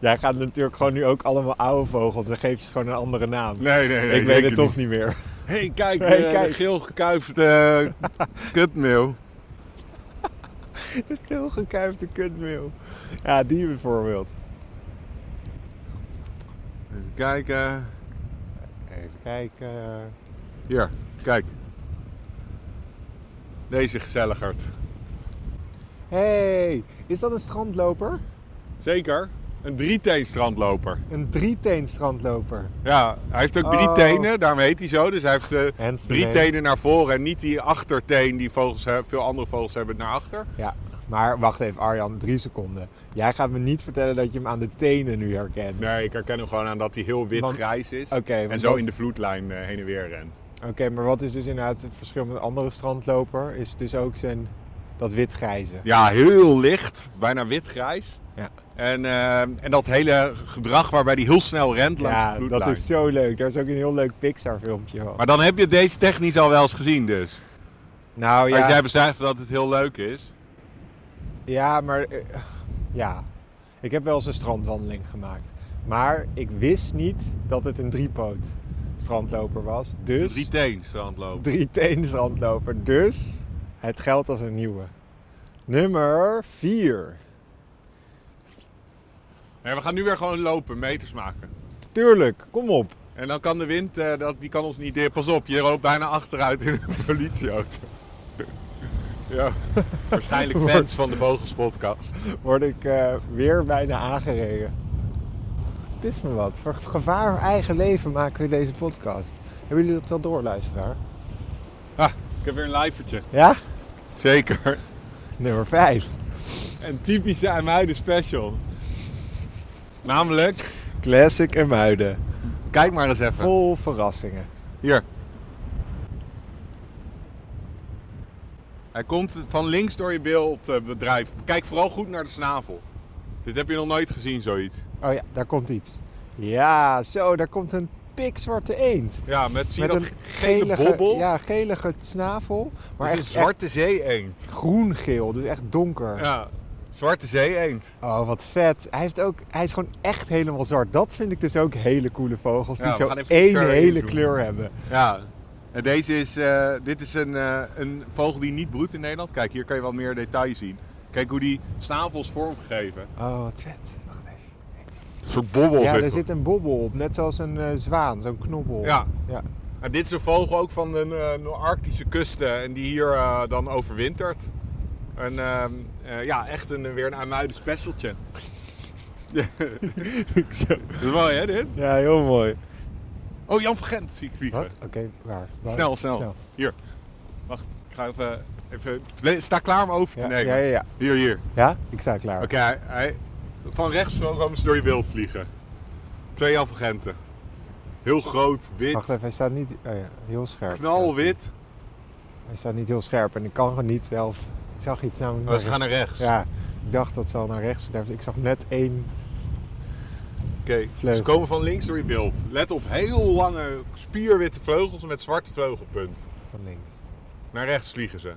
Speaker 3: Jij gaat natuurlijk gewoon nu ook allemaal oude vogels. Dan geef je ze gewoon een andere naam.
Speaker 2: Nee, nee, nee.
Speaker 3: ik weet het toch niet meer.
Speaker 2: Hé, hey, kijk,
Speaker 3: Hey,
Speaker 2: eh,
Speaker 3: kijk.
Speaker 2: de geel eh, gekuifde
Speaker 3: (laughs)
Speaker 2: kutmeel.
Speaker 3: Een heel gekuifde kutmeel. Ja, die bijvoorbeeld.
Speaker 2: Even kijken.
Speaker 3: Even kijken.
Speaker 2: Hier, kijk. Deze gezelligert.
Speaker 3: hey, is dat een strandloper?
Speaker 2: Zeker. Een drieteen strandloper.
Speaker 3: Een drieteen strandloper.
Speaker 2: Ja, hij heeft ook drie
Speaker 3: Oh.
Speaker 2: tenen, daarom heet hij zo. Dus hij heeft eh,
Speaker 3: En
Speaker 2: drie
Speaker 3: nee.
Speaker 2: tenen naar voren en niet die achterteen die vogels, hebben- veel andere vogels hebben naar achter.
Speaker 3: Ja, maar wacht even Arjan, drie seconden. Jij gaat me niet vertellen dat je hem aan de tenen nu herkent.
Speaker 2: Nee, ik herken hem gewoon aan dat hij heel
Speaker 3: Want-
Speaker 2: wit-grijs is.
Speaker 3: Oké, want
Speaker 2: en zo
Speaker 3: dat-
Speaker 2: in de vloedlijn eh, heen en weer rent.
Speaker 3: Oké, maar wat is dus inderdaad het verschil met een andere strandloper? Is dus ook zijn, dat wit-grijze.
Speaker 2: Ja, heel licht, bijna wit-grijs.
Speaker 3: Ja.
Speaker 2: En, eh, en dat hele gedrag waarbij hij heel snel rent langs de
Speaker 3: Ja,
Speaker 2: vloedlijn.
Speaker 3: dat is zo leuk. Daar is ook een heel leuk Pixar filmpje van.
Speaker 2: Maar dan heb je deze technisch al wel eens gezien dus.
Speaker 3: nou
Speaker 2: Als
Speaker 3: ja,
Speaker 2: jij beschrijft dat het heel leuk is.
Speaker 3: ja, maar eh, ja. Ik heb wel eens een strandwandeling gemaakt. Maar ik wist niet dat het een driepoot strandloper was.
Speaker 2: De
Speaker 3: Dus
Speaker 2: Drie teen strandlopen.
Speaker 3: drie strandloper. Dus het geldt als een nieuwe. Nummer 4.
Speaker 2: Nee, we gaan nu weer gewoon lopen, meters maken.
Speaker 3: Tuurlijk, kom op.
Speaker 2: En dan kan de wind, eh, dat, die kan ons niet... eh, Pas op, je loopt bijna achteruit in een (laughs) politieauto. ja, waarschijnlijk fans van de Vogelspodcast.
Speaker 3: Word ik eh, weer bijna aangereden. Het is me wat. Voor gevaar voor eigen leven maken we deze podcast. Hebben jullie dat wel door, luisteraar?
Speaker 2: Ah, ik heb weer een lijfertje.
Speaker 3: Ja?
Speaker 2: Zeker.
Speaker 3: Nummer 5.
Speaker 2: Een typische aan mij de special. Namelijk...
Speaker 3: Classic en Muiden.
Speaker 2: Kijk maar eens even.
Speaker 3: Vol verrassingen.
Speaker 2: Hier. Hij komt van links door je beeldbedrijf. Kijk vooral goed naar de snavel. Dit heb je nog nooit gezien, zoiets.
Speaker 3: Oh ja, daar komt iets. Ja, zo, daar komt een pikzwarte eend.
Speaker 2: Ja, met zie je
Speaker 3: Met
Speaker 2: dat gele bobbel? Dus
Speaker 3: Ja, gelige snavel. Maar
Speaker 2: Maar
Speaker 3: echt,
Speaker 2: een zwarte zee-eend.
Speaker 3: echt groen-geel, dus echt donker.
Speaker 2: Ja. Zwarte zee-eend.
Speaker 3: Oh, wat vet. Hij, heeft ook, hij is gewoon echt helemaal zwart. Dat vind ik dus ook hele coole vogels.
Speaker 2: Ja,
Speaker 3: die
Speaker 2: we
Speaker 3: zo
Speaker 2: gaan even
Speaker 3: één
Speaker 2: zoomen.
Speaker 3: hele kleur hebben.
Speaker 2: Ja. En deze is, eh, dit is een, eh, een vogel die niet broedt in Nederland. Kijk, hier kan je wel meer detail zien. Kijk hoe die snavel is vormgegeven.
Speaker 3: Oh, wat vet. Wacht even.
Speaker 2: Zo'n bobbel,
Speaker 3: Ja, er zit een bobbel op. Net zoals een eh, zwaan, zo'n knobbel.
Speaker 2: Ja.
Speaker 3: ja.
Speaker 2: En dit is een vogel ook van de eh, Noord-Arctische kusten en die hier eh, dan overwintert. En ehm, eh, ja, echt een, weer een Amuiden specialtje. (laughs) Ja. Dat is mooi hè dit?
Speaker 3: ja, heel mooi.
Speaker 2: Oh, Jan van Gent zie ik vliegen.
Speaker 3: Wat? Oké, waar? Waar?
Speaker 2: Snel, snel, Hier. Wacht, ik ga even... even nee, sta klaar om over te
Speaker 3: Ja,
Speaker 2: nemen.
Speaker 3: ja, ja, ja.
Speaker 2: Hier, hier.
Speaker 3: Ja, ik sta klaar.
Speaker 2: Oké, hij- hij- van rechts komen ze door je wild vliegen. Twee Jan van Genten. Heel groot,
Speaker 3: Wacht
Speaker 2: wit,
Speaker 3: even, hij staat niet oh ja, heel scherp.
Speaker 2: knalwit.
Speaker 3: Hij staat niet heel scherp en ik kan gewoon niet zelf. Ik zag iets namelijk.
Speaker 2: Oh, ze gaan naar rechts.
Speaker 3: Ja, ik dacht dat ze al naar rechts. durfde. Ik zag net één.
Speaker 2: Oké, ze
Speaker 3: Vleugel.
Speaker 2: komen van links door je beeld. Let op, heel lange spierwitte vleugels met zwarte vleugelpunt.
Speaker 3: Van links.
Speaker 2: Naar rechts vliegen ze.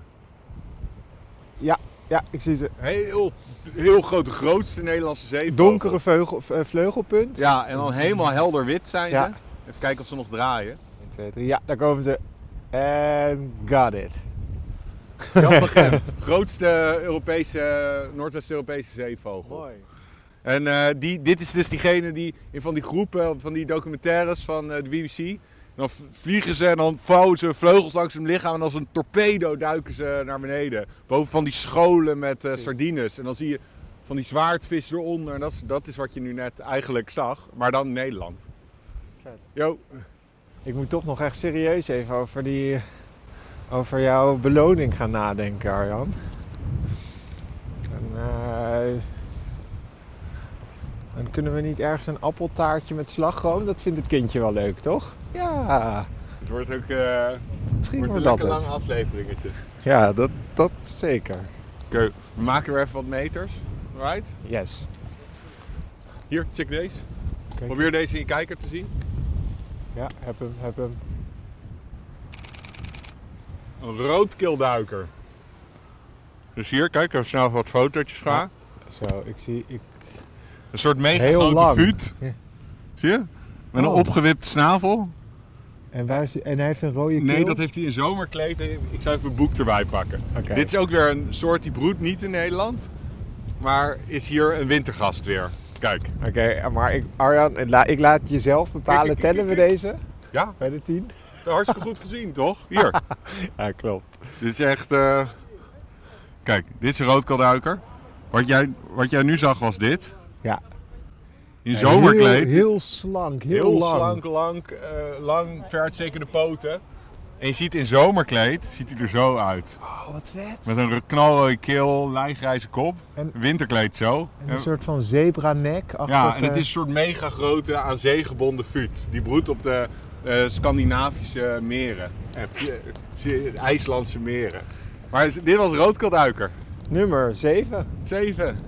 Speaker 3: Ja, ja, ik zie ze.
Speaker 2: Heel, heel groot, de grootste Nederlandse zeevogel.
Speaker 3: Donkere vleugel, v- eh, vleugelpunt.
Speaker 2: Ja, en dan helemaal helder wit zijn
Speaker 3: Ja.
Speaker 2: ze. Even kijken of ze nog draaien.
Speaker 3: 1, 2, 3. Ja, daar komen ze. En got it. (laughs)
Speaker 2: Jan van Gent, grootste Europese, Noordwest-Europese zeevogel. En eh, die, dit is dus diegene die in van die groepen, eh, van die documentaires van eh, de BBC. Dan v- vliegen ze en dan vouwen ze vleugels langs hun lichaam en als een torpedo duiken ze naar beneden. Boven van die scholen met eh, sardines. En dan zie je van die zwaardvis eronder. En dat is, dat is wat je nu net eigenlijk zag, maar dan in Nederland.
Speaker 3: Vet.
Speaker 2: Jo,
Speaker 3: Ik moet toch nog echt serieus even over die. Over jouw beloning gaan nadenken, Arjan. En, eh, dan kunnen we niet ergens een appeltaartje met slagroom? Dat vindt het kindje wel leuk, toch? Ja,
Speaker 2: het wordt ook eh,
Speaker 3: misschien
Speaker 2: wordt
Speaker 3: wordt
Speaker 2: een
Speaker 3: dat
Speaker 2: lekker
Speaker 3: het.
Speaker 2: lang afleveringetje.
Speaker 3: Ja, dat, dat zeker.
Speaker 2: Oké, we maken weer even wat meters. Right?
Speaker 3: Yes.
Speaker 2: Hier, check deze.
Speaker 3: Kijk.
Speaker 2: Probeer deze in je kijker te zien.
Speaker 3: Ja, heb hem, heb hem.
Speaker 2: Een roodkeelduiker. Dus hier, kijk, even snel wat fotootjes ga.
Speaker 3: Ja. Zo, ik zie... Ik...
Speaker 2: Een soort mega
Speaker 3: Heel
Speaker 2: grote
Speaker 3: lang.
Speaker 2: vuut.
Speaker 3: Ja.
Speaker 2: Zie je? Met
Speaker 3: Oh.
Speaker 2: een opgewipte snavel.
Speaker 3: En, waar is, en hij heeft een rode keel?
Speaker 2: Nee, dat heeft hij in zomerkleed. Ik zou even een boek erbij pakken.
Speaker 3: Oké.
Speaker 2: Dit is ook weer een soort die broedt niet in Nederland. Maar is hier een wintergast weer. Kijk.
Speaker 3: Oké, maar ik, Arjan, ik la- ik laat jezelf bepalen.
Speaker 2: Kik, kik, kik,
Speaker 3: Tellen we
Speaker 2: kik.
Speaker 3: deze?
Speaker 2: Ja,
Speaker 3: Bij de tien?
Speaker 2: hartstikke goed gezien, toch?
Speaker 3: (laughs)
Speaker 2: Hier.
Speaker 3: Ja, klopt.
Speaker 2: Dit is echt. eh, Kijk, dit is een roodkalduiker. Wat jij, wat jij nu zag was dit.
Speaker 3: Ja.
Speaker 2: In zomerkleed.
Speaker 3: Heel, heel slank, heel,
Speaker 2: Heel
Speaker 3: lang.
Speaker 2: slank, lang, eh, lang, vertstekende poten. En je ziet in zomerkleed, ziet hij er zo uit.
Speaker 3: Oh, wat vet.
Speaker 2: Met een knalrode keel, lijngrijze kop,
Speaker 3: En-
Speaker 2: winterkleed zo.
Speaker 3: En een soort eh, van zebra-nek.
Speaker 2: ja, en het is een soort mega grote aan zee gebonden vuut. Die broedt op de eh, Scandinavische meren. En vle- eh, IJslandse meren. Maar is- dit was roodkalduiker.
Speaker 3: Nummer 7.
Speaker 2: 7.
Speaker 3: (laughs)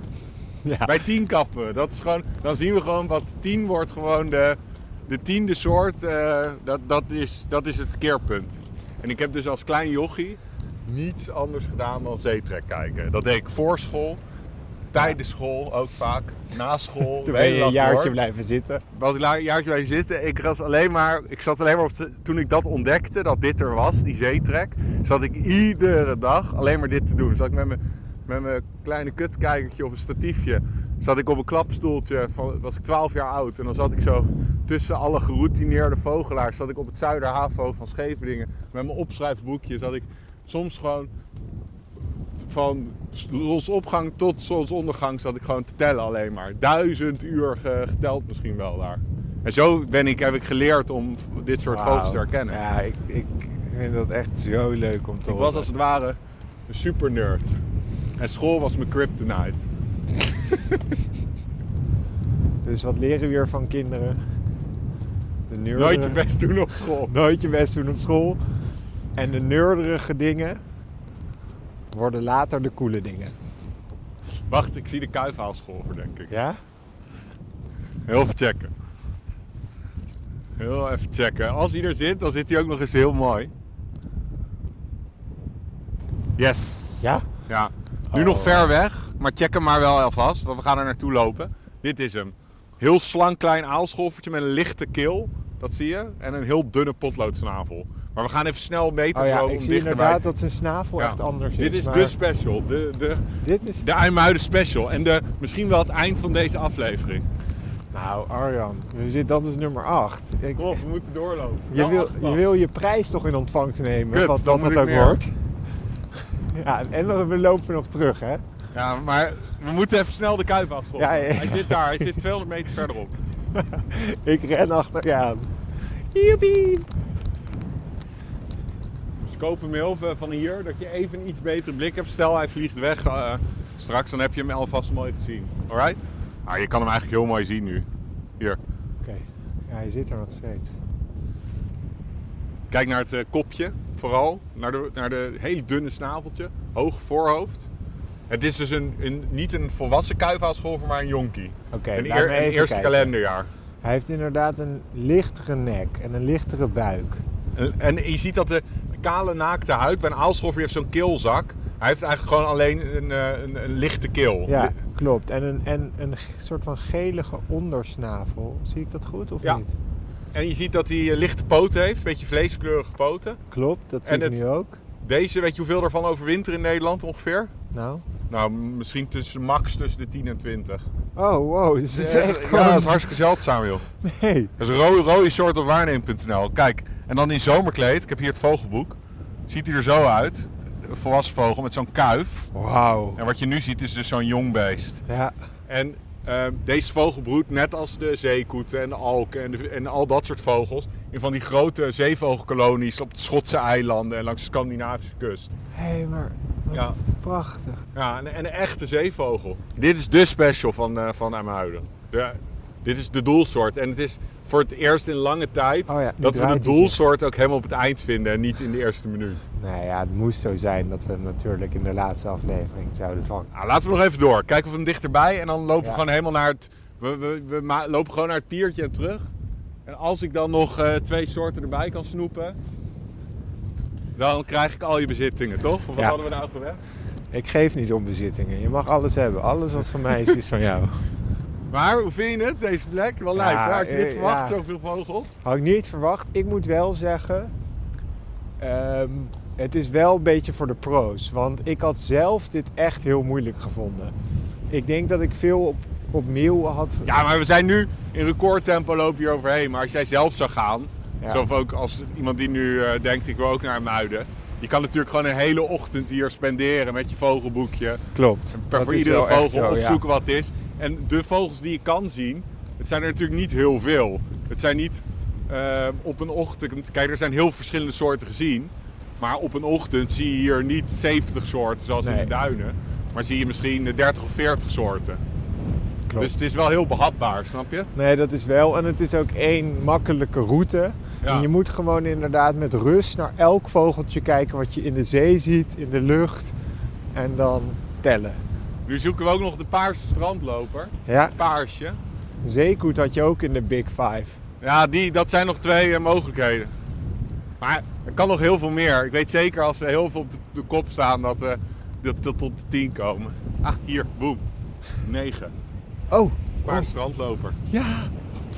Speaker 3: Ja.
Speaker 2: Bij 10 kappen. Dat is gewoon, dan zien we gewoon wat 10 wordt gewoon de, de tiende soort. eh, dat, dat, is, dat is het keerpunt. En ik heb dus als klein jochie niets anders gedaan dan zeetrek kijken. Dat deed ik voor school, tijdens school ook vaak, na school.
Speaker 3: (laughs) Toen ben je een
Speaker 2: Nederland
Speaker 3: jaartje
Speaker 2: door.
Speaker 3: blijven zitten.
Speaker 2: Was ik la- een jaartje bij zitten. Ik, was alleen maar, ik zat alleen maar op ze- toen ik dat ontdekte, dat dit er was, die zeetrek, zat ik iedere dag alleen maar dit te doen. Zat ik met mijn, met mijn kleine kutkijkertje op een statiefje, zat ik op een klapstoeltje, van, was ik 12 jaar oud. En dan zat ik zo tussen alle geroutineerde vogelaars, zat ik op het Zuiderhavo van Scheveningen, met mijn opschrijfboekje, zat ik soms gewoon van zonsopgang tot zonsondergang zat ik gewoon te tellen alleen maar. Duizend uur ge- geteld misschien wel daar. En zo ben ik, heb ik geleerd om v- dit soort
Speaker 3: Wauw.
Speaker 2: vogels te herkennen.
Speaker 3: Ja, ik, ik vind dat echt zo leuk om te
Speaker 2: ik
Speaker 3: horen.
Speaker 2: was als het ware een super nerd. En school was mijn kryptonite.
Speaker 3: Dus wat leren we hier van kinderen? De neurderen-
Speaker 2: Nooit je best doen op school.
Speaker 3: Nooit je best doen op school. En de neurderige dingen worden later de coole dingen.
Speaker 2: Wacht, ik zie de kuifhaalschool voor denk ik.
Speaker 3: Ja?
Speaker 2: Heel even checken. Heel even checken. Als hij er zit, dan zit hij ook nog eens heel mooi. Yes.
Speaker 3: Ja?
Speaker 2: Ja. Nu
Speaker 3: Oh.
Speaker 2: nog ver weg. Maar check hem maar wel alvast, want we gaan er naartoe lopen. Dit is hem. Heel slank klein aalscholvertje met een lichte keel. Dat zie je. En een heel dunne potloodsnavel. Maar we gaan even snel meten
Speaker 3: Oh ja,
Speaker 2: gewoon
Speaker 3: ik
Speaker 2: om
Speaker 3: zie
Speaker 2: dichterbij
Speaker 3: inderdaad
Speaker 2: te-
Speaker 3: dat zijn snavel
Speaker 2: Ja.
Speaker 3: echt anders is.
Speaker 2: Dit is dus-
Speaker 3: maar
Speaker 2: de special. De, de,
Speaker 3: Dit is...
Speaker 2: de IJmuiden special. En de, misschien wel het eind van deze aflevering.
Speaker 3: Nou, Arjan, we zitten, dat is nummer 8. Ik,
Speaker 2: Kom op, we moeten doorlopen.
Speaker 3: je,
Speaker 2: Nou,
Speaker 3: wil,
Speaker 2: achteraf.
Speaker 3: je wil je prijs toch in ontvangst nemen,
Speaker 2: Kut,
Speaker 3: wat,
Speaker 2: dan
Speaker 3: wat dat
Speaker 2: moet ik
Speaker 3: ook
Speaker 2: meer.
Speaker 3: wordt. (laughs) Ja, en we- we lopen nog terug, hè? (laughs)
Speaker 2: Ja, maar we moeten even snel de kuif afschoppen.
Speaker 3: Ja, ja.
Speaker 2: Hij zit daar, hij zit 200 meter verderop.
Speaker 3: Ik ren achter je aan. Joepie!
Speaker 2: Dus koop hem heel veel van hier, dat je even een iets betere blik hebt. Stel hij vliegt weg eh, straks, dan heb je hem alvast mooi gezien. Alright? Ah, je kan hem eigenlijk heel mooi zien nu. Hier,
Speaker 3: Oké, ja, hij zit er nog steeds.
Speaker 2: kijk naar het eh, kopje vooral. Naar de, naar de hele dunne snaveltje, hoog voorhoofd. Het is dus een, een, niet een volwassen kuifhaalscholver, maar een jonkie.
Speaker 3: Oké,
Speaker 2: een
Speaker 3: laat me
Speaker 2: een
Speaker 3: even
Speaker 2: eerste
Speaker 3: kijken.
Speaker 2: kalenderjaar.
Speaker 3: Hij heeft inderdaad een lichtere nek en een lichtere buik.
Speaker 2: En, Eh, en je ziet dat de, de kale naakte huid bij een aalscholver heeft zo'n keelzak. Hij heeft eigenlijk gewoon alleen een, eh, een, een lichte keel.
Speaker 3: Ja,
Speaker 2: Li-
Speaker 3: klopt. En een, en een g- soort van gelige ondersnavel. Zie ik dat goed of
Speaker 2: Ja.
Speaker 3: niet?
Speaker 2: En je ziet dat hij eh, lichte poten heeft, een beetje vleeskleurige poten.
Speaker 3: Klopt, dat zie
Speaker 2: En
Speaker 3: ik
Speaker 2: het-
Speaker 3: nu ook.
Speaker 2: Deze, weet je hoeveel ervan overwinter in Nederland ongeveer?
Speaker 3: Nou.
Speaker 2: Nou, m- misschien tussen max tussen de 10 en 20.
Speaker 3: Oh, wow. Dit is echt
Speaker 2: ja, dat
Speaker 3: gewoon...
Speaker 2: is hartstikke zeldzaam, joh.
Speaker 3: Nee.
Speaker 2: Dat is rode, rode short op waarneem.nl. Kijk, en dan in zomerkleed, ik heb hier het vogelboek. Ziet hij er zo uit. Een volwassen vogel met zo'n kuif.
Speaker 3: Wauw.
Speaker 2: En wat je nu ziet is dus zo'n jong beest.
Speaker 3: Ja.
Speaker 2: En ehm, deze vogel broedt net als de zeekoeten en de alken en, de- en al dat soort vogels... in van die grote zeevogelkolonies op de Schotse eilanden en langs de Scandinavische kust.
Speaker 3: Hé, hey, maar wat
Speaker 2: Ja.
Speaker 3: prachtig.
Speaker 2: Ja, en, en een echte zeevogel. Dit is de special van, eh van IJmuiden. De, dit is de doelsoort. En het is voor het eerst in lange tijd...
Speaker 3: Oh ja, nu
Speaker 2: dat we de
Speaker 3: draait hij
Speaker 2: doelsoort ook helemaal op het eind vinden en niet in de eerste minuut.
Speaker 3: Nou ja, het moest zo zijn dat we hem natuurlijk in de laatste aflevering zouden vangen.
Speaker 2: Nou, laten we nog even door. Kijken of we hem dichterbij en dan lopen we
Speaker 3: Ja.
Speaker 2: gewoon helemaal naar het... We, we, we ma- lopen gewoon naar het piertje en terug. En als ik dan nog eh, twee soorten erbij kan snoepen... dan krijg ik al je bezittingen, toch? Of wat
Speaker 3: Ja.
Speaker 2: hadden we nou gewend?
Speaker 3: Ik geef niet om bezittingen. Je mag alles hebben. Alles wat van mij is, is van jou.
Speaker 2: Maar hoe vind je het, deze plek? Wel
Speaker 3: Ja,
Speaker 2: lijp, hè? Had je dit
Speaker 3: eh,
Speaker 2: verwacht,
Speaker 3: ja.
Speaker 2: zoveel vogels?
Speaker 3: Had ik niet verwacht. Ik moet wel zeggen, ehm, het is wel een beetje voor de pro's. Want ik had zelf dit echt heel moeilijk gevonden. Ik denk dat ik veel op, op mail had.
Speaker 2: Ja, maar we zijn nu in recordtempo lopen hier overheen. Maar als jij zelf zou gaan,
Speaker 3: Ja.
Speaker 2: zelf ook als iemand die nu eh, denkt ik wil ook naar Muiden. Je kan natuurlijk gewoon een hele ochtend hier spenderen met je vogelboekje.
Speaker 3: klopt.
Speaker 2: Per voor iedere vogel opzoeken wat het is. En de vogels die je kan zien, het zijn er natuurlijk niet heel veel. Het zijn niet eh, op een ochtend. Kijk, er zijn heel verschillende soorten gezien. Maar op een ochtend zie je hier niet 70 soorten zoals in
Speaker 3: Nee.
Speaker 2: de duinen. Maar zie je misschien eh, 30 of 40 soorten.
Speaker 3: Klopt.
Speaker 2: Dus het is wel heel behapbaar, snap je?
Speaker 3: Nee, dat is wel. En het is ook één makkelijke route.
Speaker 2: Ja.
Speaker 3: En je moet gewoon inderdaad met rust naar elk vogeltje kijken wat je in de zee ziet, in de lucht. En dan tellen.
Speaker 2: Nu zoeken we ook nog de paarse strandloper.
Speaker 3: Ja,
Speaker 2: Paarsje.
Speaker 3: zeekoet had je ook in de Big Five.
Speaker 2: Ja, die, dat zijn nog twee eh, mogelijkheden. Maar er kan nog heel veel meer. Ik weet zeker als we heel veel op de, de kop staan dat we de- tot, tot de 10 komen. Ah, hier, boem. 9.
Speaker 3: Oh,
Speaker 2: Paarse strandloper.
Speaker 3: Ja,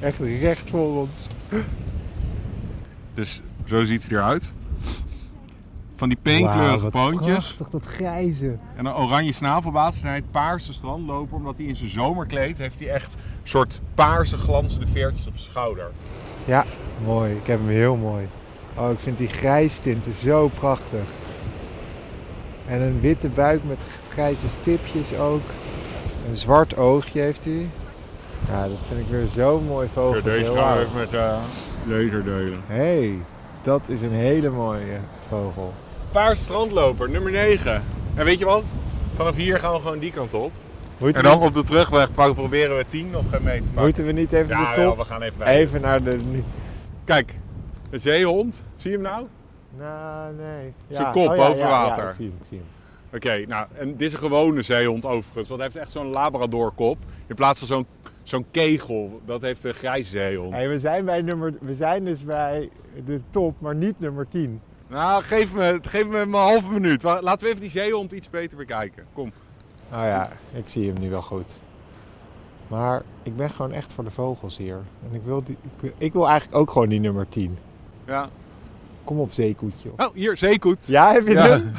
Speaker 3: echt recht voor ons.
Speaker 2: Dus zo ziet hij eruit. Van die
Speaker 3: Prachtig, dat grijze.
Speaker 2: En een oranje snavelbaas. En hij heet paarse strandloper, omdat hij in zijn zomerkleed heeft hij echt een soort paarse glanzende veertjes op zijn schouder.
Speaker 3: Oh, Ja, mooi. Ik heb hem heel mooi. Oh, ik vind die grijstinten zo prachtig. En een witte buik met grijze stipjes ook. Een zwart oogje heeft hij. Ja, dat vind ik weer zo'n mooi vogel. Heel aardig.
Speaker 2: met laser delen.
Speaker 3: hey, dat is een hele mooie vogel.
Speaker 2: Paars strandloper, nummer 9. En weet je wat? Vanaf hier gaan we gewoon die kant op.
Speaker 3: Moeten,
Speaker 2: En dan
Speaker 3: we,
Speaker 2: op de terugweg pak- proberen we 10 nog mee te maken.
Speaker 3: moeten we niet even
Speaker 2: Ja,
Speaker 3: de
Speaker 2: wel,
Speaker 3: top?
Speaker 2: we gaan even bij.
Speaker 3: even naar de...
Speaker 2: Kijk, een zeehond. Zie je hem nou?
Speaker 3: Nou, nee.
Speaker 2: Zijn kop boven water.
Speaker 3: ik zie hem, ik zie hem.
Speaker 2: Oké, nou, en dit is een gewone zeehond overigens. Want hij heeft echt zo'n labradorkop. In plaats van zo'n zo'n kegel. Dat heeft een grijze zeehond.
Speaker 3: Hey, we, zijn bij nummer, we zijn dus bij de top, maar niet nummer 10.
Speaker 2: Nou, geef me, geef me een halve minuut. Wa- Laten we even die zeehond iets beter bekijken. Kom.
Speaker 3: Nou ja, ik zie hem nu wel goed. Maar ik ben gewoon echt voor de vogels hier. En ik wil, die, ik, wil- ik wil eigenlijk ook gewoon die nummer 10.
Speaker 2: Ja.
Speaker 3: Kom op, zeekoetje.
Speaker 2: Oh, hier, zeekoet.
Speaker 3: Ja, heb je
Speaker 2: Ja.
Speaker 3: hem?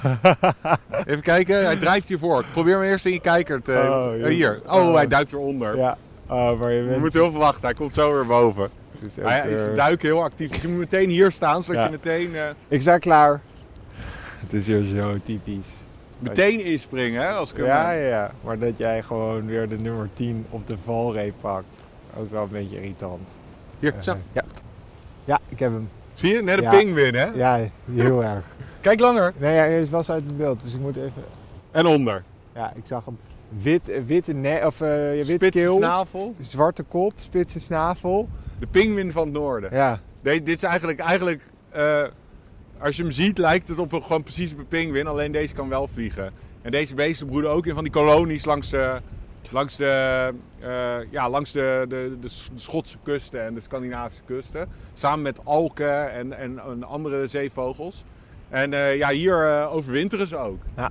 Speaker 2: Even kijken, hij drijft hier voor. Ik Probeer hem eerst in je kijker te...
Speaker 3: Oh,
Speaker 2: eh,
Speaker 3: joh.
Speaker 2: hier. Oh,
Speaker 3: Oh.
Speaker 2: hij duikt eronder.
Speaker 3: Ja. Oh, maar je
Speaker 2: We
Speaker 3: bent...
Speaker 2: moeten heel veel wachten, hij komt zo weer boven.
Speaker 3: het is
Speaker 2: Hij
Speaker 3: ook,
Speaker 2: is
Speaker 3: eh,
Speaker 2: duiken heel actief. Je moet meteen hier staan, zodat
Speaker 3: Ja.
Speaker 2: je meteen, eh,
Speaker 3: Ik sta klaar. (laughs) Het is weer zo typisch.
Speaker 2: meteen inspringen. Hè, als ik hem,
Speaker 3: Ja,
Speaker 2: eh,
Speaker 3: ja, ja. Maar dat jij gewoon weer de nummer 10 op de valreep pakt. Ook wel een beetje irritant.
Speaker 2: Hier, zo.
Speaker 3: Eh, ja. ja, ik heb hem.
Speaker 2: Zie je? Net een
Speaker 3: Ja.
Speaker 2: pinguïn, hè?
Speaker 3: Ja, heel erg.
Speaker 2: Kijk langer.
Speaker 3: Nee, hij is was uit het beeld, dus ik moet even...
Speaker 2: En onder.
Speaker 3: Ja, ik zag hem. Wit, eh, witte ne of, eh ja, wit
Speaker 2: Spitse
Speaker 3: keel,
Speaker 2: snavel.
Speaker 3: zwarte kop, spitse snavel.
Speaker 2: De pinguïn van het noorden.
Speaker 3: Ja,
Speaker 2: Nee, dit is eigenlijk, eigenlijk eh, als je hem ziet, lijkt het op een, gewoon precies op een pinguïn. Alleen deze kan wel vliegen. En deze beesten broeden ook in van die kolonies langs de, langs de, eh, ja, langs de, de, de S- de Schotse kusten en de Scandinavische kusten. Samen met alken en, en, en andere zeevogels. En eh, ja, hier eh, overwinteren ze ook.
Speaker 3: Ja.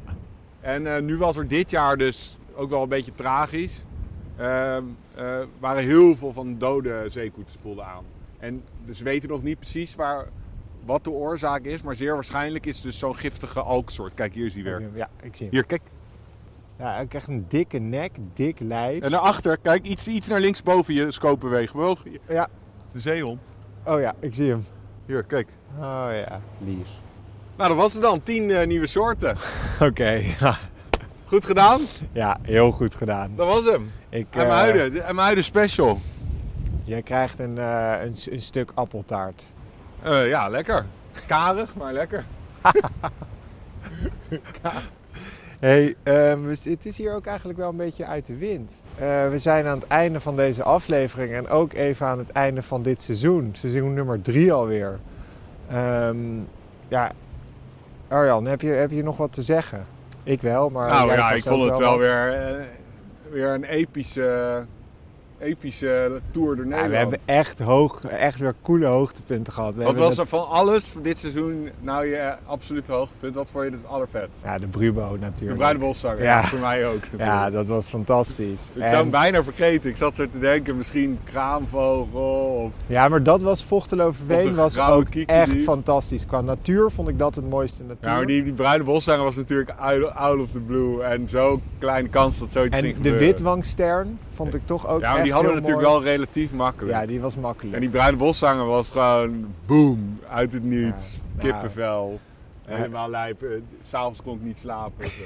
Speaker 2: En eh, nu was er dit jaar dus ook wel een beetje tragisch. Ehm, eh, waren heel veel van de dode zeekoetspoelen aan. En ze weten nog niet precies waar, wat de oorzaak is, maar zeer waarschijnlijk is het dus zo'n giftige alksoort. Kijk, hier is die weer.
Speaker 3: ja ik zie hem.
Speaker 2: Hier, kijk.
Speaker 3: Ja, hij krijgt een dikke nek, dik lijf.
Speaker 2: En daarachter, kijk, iets, iets naar links boven je scopenweg. Bewogen.
Speaker 3: Ja.
Speaker 2: De zeehond.
Speaker 3: Oh ja, ik zie hem.
Speaker 2: Hier, kijk.
Speaker 3: Oh ja, lief. (laughs)
Speaker 2: Nou, dat was het dan. Tien eh, nieuwe soorten.
Speaker 3: Oké, ja.
Speaker 2: Goed gedaan.
Speaker 3: ja, heel goed gedaan.
Speaker 2: Dat was hem.
Speaker 3: Ik, eh,
Speaker 2: Emuiden. de Emuiden special.
Speaker 3: Jij krijgt een, eh, een, s- een stuk appeltaart.
Speaker 2: Eh, ja, lekker. Karig, maar lekker.
Speaker 3: Hey, ehm, we- het is hier ook eigenlijk wel een beetje uit de wind. Eh, we zijn aan het einde van deze aflevering en ook even aan het einde van dit seizoen. Seizoen nummer drie alweer. Ehm, ja, Arjan, heb je, heb je nog wat te zeggen? Ik wel, maar.
Speaker 2: Nou
Speaker 3: jij
Speaker 2: ja,
Speaker 3: vast
Speaker 2: ik vond
Speaker 3: ook
Speaker 2: het wel
Speaker 3: wat.
Speaker 2: weer, eh, weer een epische, epische tour door
Speaker 3: Ja,
Speaker 2: Nederland.
Speaker 3: we hebben echt, hoog, echt weer coole hoogtepunten gehad. We
Speaker 2: Wat
Speaker 3: hebben
Speaker 2: was
Speaker 3: het-
Speaker 2: er van alles voor dit seizoen nou je absolute hoogtepunt? Wat vond je het allervetst?
Speaker 3: Ja, de Brubo
Speaker 2: De
Speaker 3: natuurlijk.
Speaker 2: bruine boszanger,
Speaker 3: Ja.
Speaker 2: voor mij ook.
Speaker 3: Ja,
Speaker 2: natuurlijk.
Speaker 3: dat was fantastisch.
Speaker 2: Ik zou hem
Speaker 3: En-
Speaker 2: bijna vergeten. Ik zat zo te denken, misschien kraanvogel of...
Speaker 3: Ja, maar dat was
Speaker 2: Of
Speaker 3: Vochteloverveen
Speaker 2: de
Speaker 3: was
Speaker 2: grauwe
Speaker 3: ook
Speaker 2: kiekendief.
Speaker 3: echt fantastisch. Qua natuur vond ik dat het mooiste natuur.
Speaker 2: Ja, maar Nou, die, die bruine boszanger was natuurlijk out, out of the blue. En zo'n kleine kans dat zoiets ging
Speaker 3: en de
Speaker 2: gebeuren.
Speaker 3: witwangstern vond ik toch ook
Speaker 2: Ja, maar die
Speaker 3: echt
Speaker 2: hadden
Speaker 3: heel
Speaker 2: natuurlijk
Speaker 3: mooi.
Speaker 2: wel relatief makkelijk.
Speaker 3: Ja, die was makkelijk.
Speaker 2: En die bruine boszanger was gewoon boom, uit het niets.
Speaker 3: Ja, nou.
Speaker 2: Kippenvel.
Speaker 3: Ja.
Speaker 2: Helemaal lijp. Eh, S'avonds kon ik niet slapen. of zo.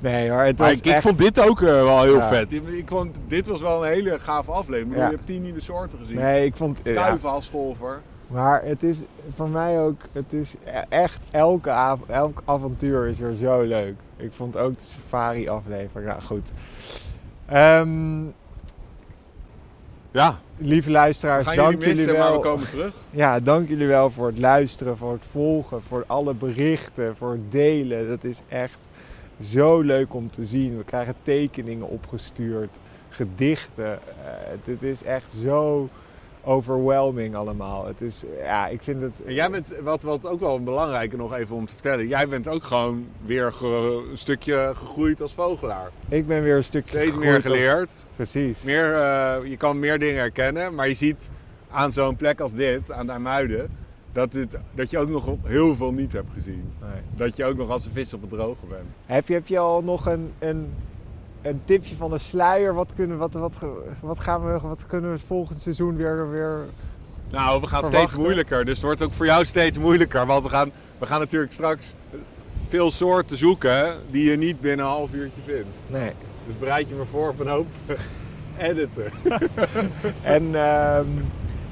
Speaker 3: Nee hoor, het
Speaker 2: Maar
Speaker 3: was
Speaker 2: ik, ik
Speaker 3: echt...
Speaker 2: vond dit ook eh, wel heel
Speaker 3: Ja.
Speaker 2: vet. Ik, ik vond, dit was wel een hele gave aflevering. Ik bedoel,
Speaker 3: Ja.
Speaker 2: Je hebt tien nieuwe soorten gezien.
Speaker 3: Nee, ik vond... ja.
Speaker 2: Kuiven als golfer.
Speaker 3: Maar het is voor mij ook... Het is e- echt... Elke av- elk avontuur is weer zo leuk. Ik vond ook de safari aflevering. Nou goed. Ehm,
Speaker 2: Ja,
Speaker 3: lieve luisteraars,
Speaker 2: gaan
Speaker 3: dank
Speaker 2: jullie missen,
Speaker 3: wel.
Speaker 2: maar we komen terug.
Speaker 3: Ja, dank jullie wel voor het luisteren, voor het volgen, voor alle berichten, voor het delen. Dat is echt zo leuk om te zien. We krijgen tekeningen opgestuurd, gedichten. Eh, het, het is echt zo overwhelming allemaal. Het is, ja, ik vind het...
Speaker 2: En jij bent, wat, wat ook wel belangrijker nog even om te vertellen. Jij bent ook gewoon weer ge- een stukje gegroeid als vogelaar.
Speaker 3: Ik ben weer een stukje
Speaker 2: Steeds
Speaker 3: gegroeid
Speaker 2: meer
Speaker 3: als-
Speaker 2: geleerd.
Speaker 3: Precies.
Speaker 2: meer, eh, je kan meer dingen herkennen, maar je ziet aan zo'n plek als dit, aan de IJmuiden, dat, dit, dat je ook nog heel veel niet hebt gezien.
Speaker 3: Nee.
Speaker 2: Dat je ook nog als een vis op het droge bent.
Speaker 3: Heb, je, heb je al nog een, een, een tipje van de sluier? Wat, kunnen, wat, wat, ge- wat, gaan we, wat kunnen we het volgend seizoen weer... weer...
Speaker 2: Nou, we gaan steeds
Speaker 3: Verwachten.
Speaker 2: moeilijker, dus het wordt ook voor jou steeds moeilijker. Want we gaan, we gaan natuurlijk straks veel soorten zoeken die je niet binnen een half uurtje vindt.
Speaker 3: Nee.
Speaker 2: Dus bereid je me voor op een hoop (laughs) editen.
Speaker 3: En ehm,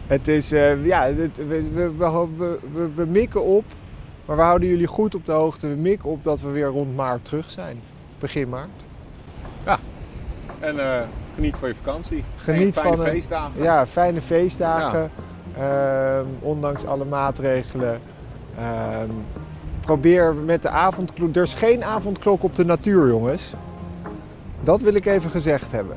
Speaker 3: het is, eh, ja, het- we, we, we, ho- we, we- we mikken op, maar we houden jullie goed op de hoogte. We mikken op dat we weer rond maart terug zijn. Begin maart.
Speaker 2: En eh, geniet van je vakantie.
Speaker 3: Geniet
Speaker 2: En fijne
Speaker 3: van een-
Speaker 2: feestdagen.
Speaker 3: Ja, fijne feestdagen, ehm, ondanks alle maatregelen. Ehm, probeer met de avondklok. Er is geen avondklok op de natuur, jongens. Dat wil ik even gezegd hebben.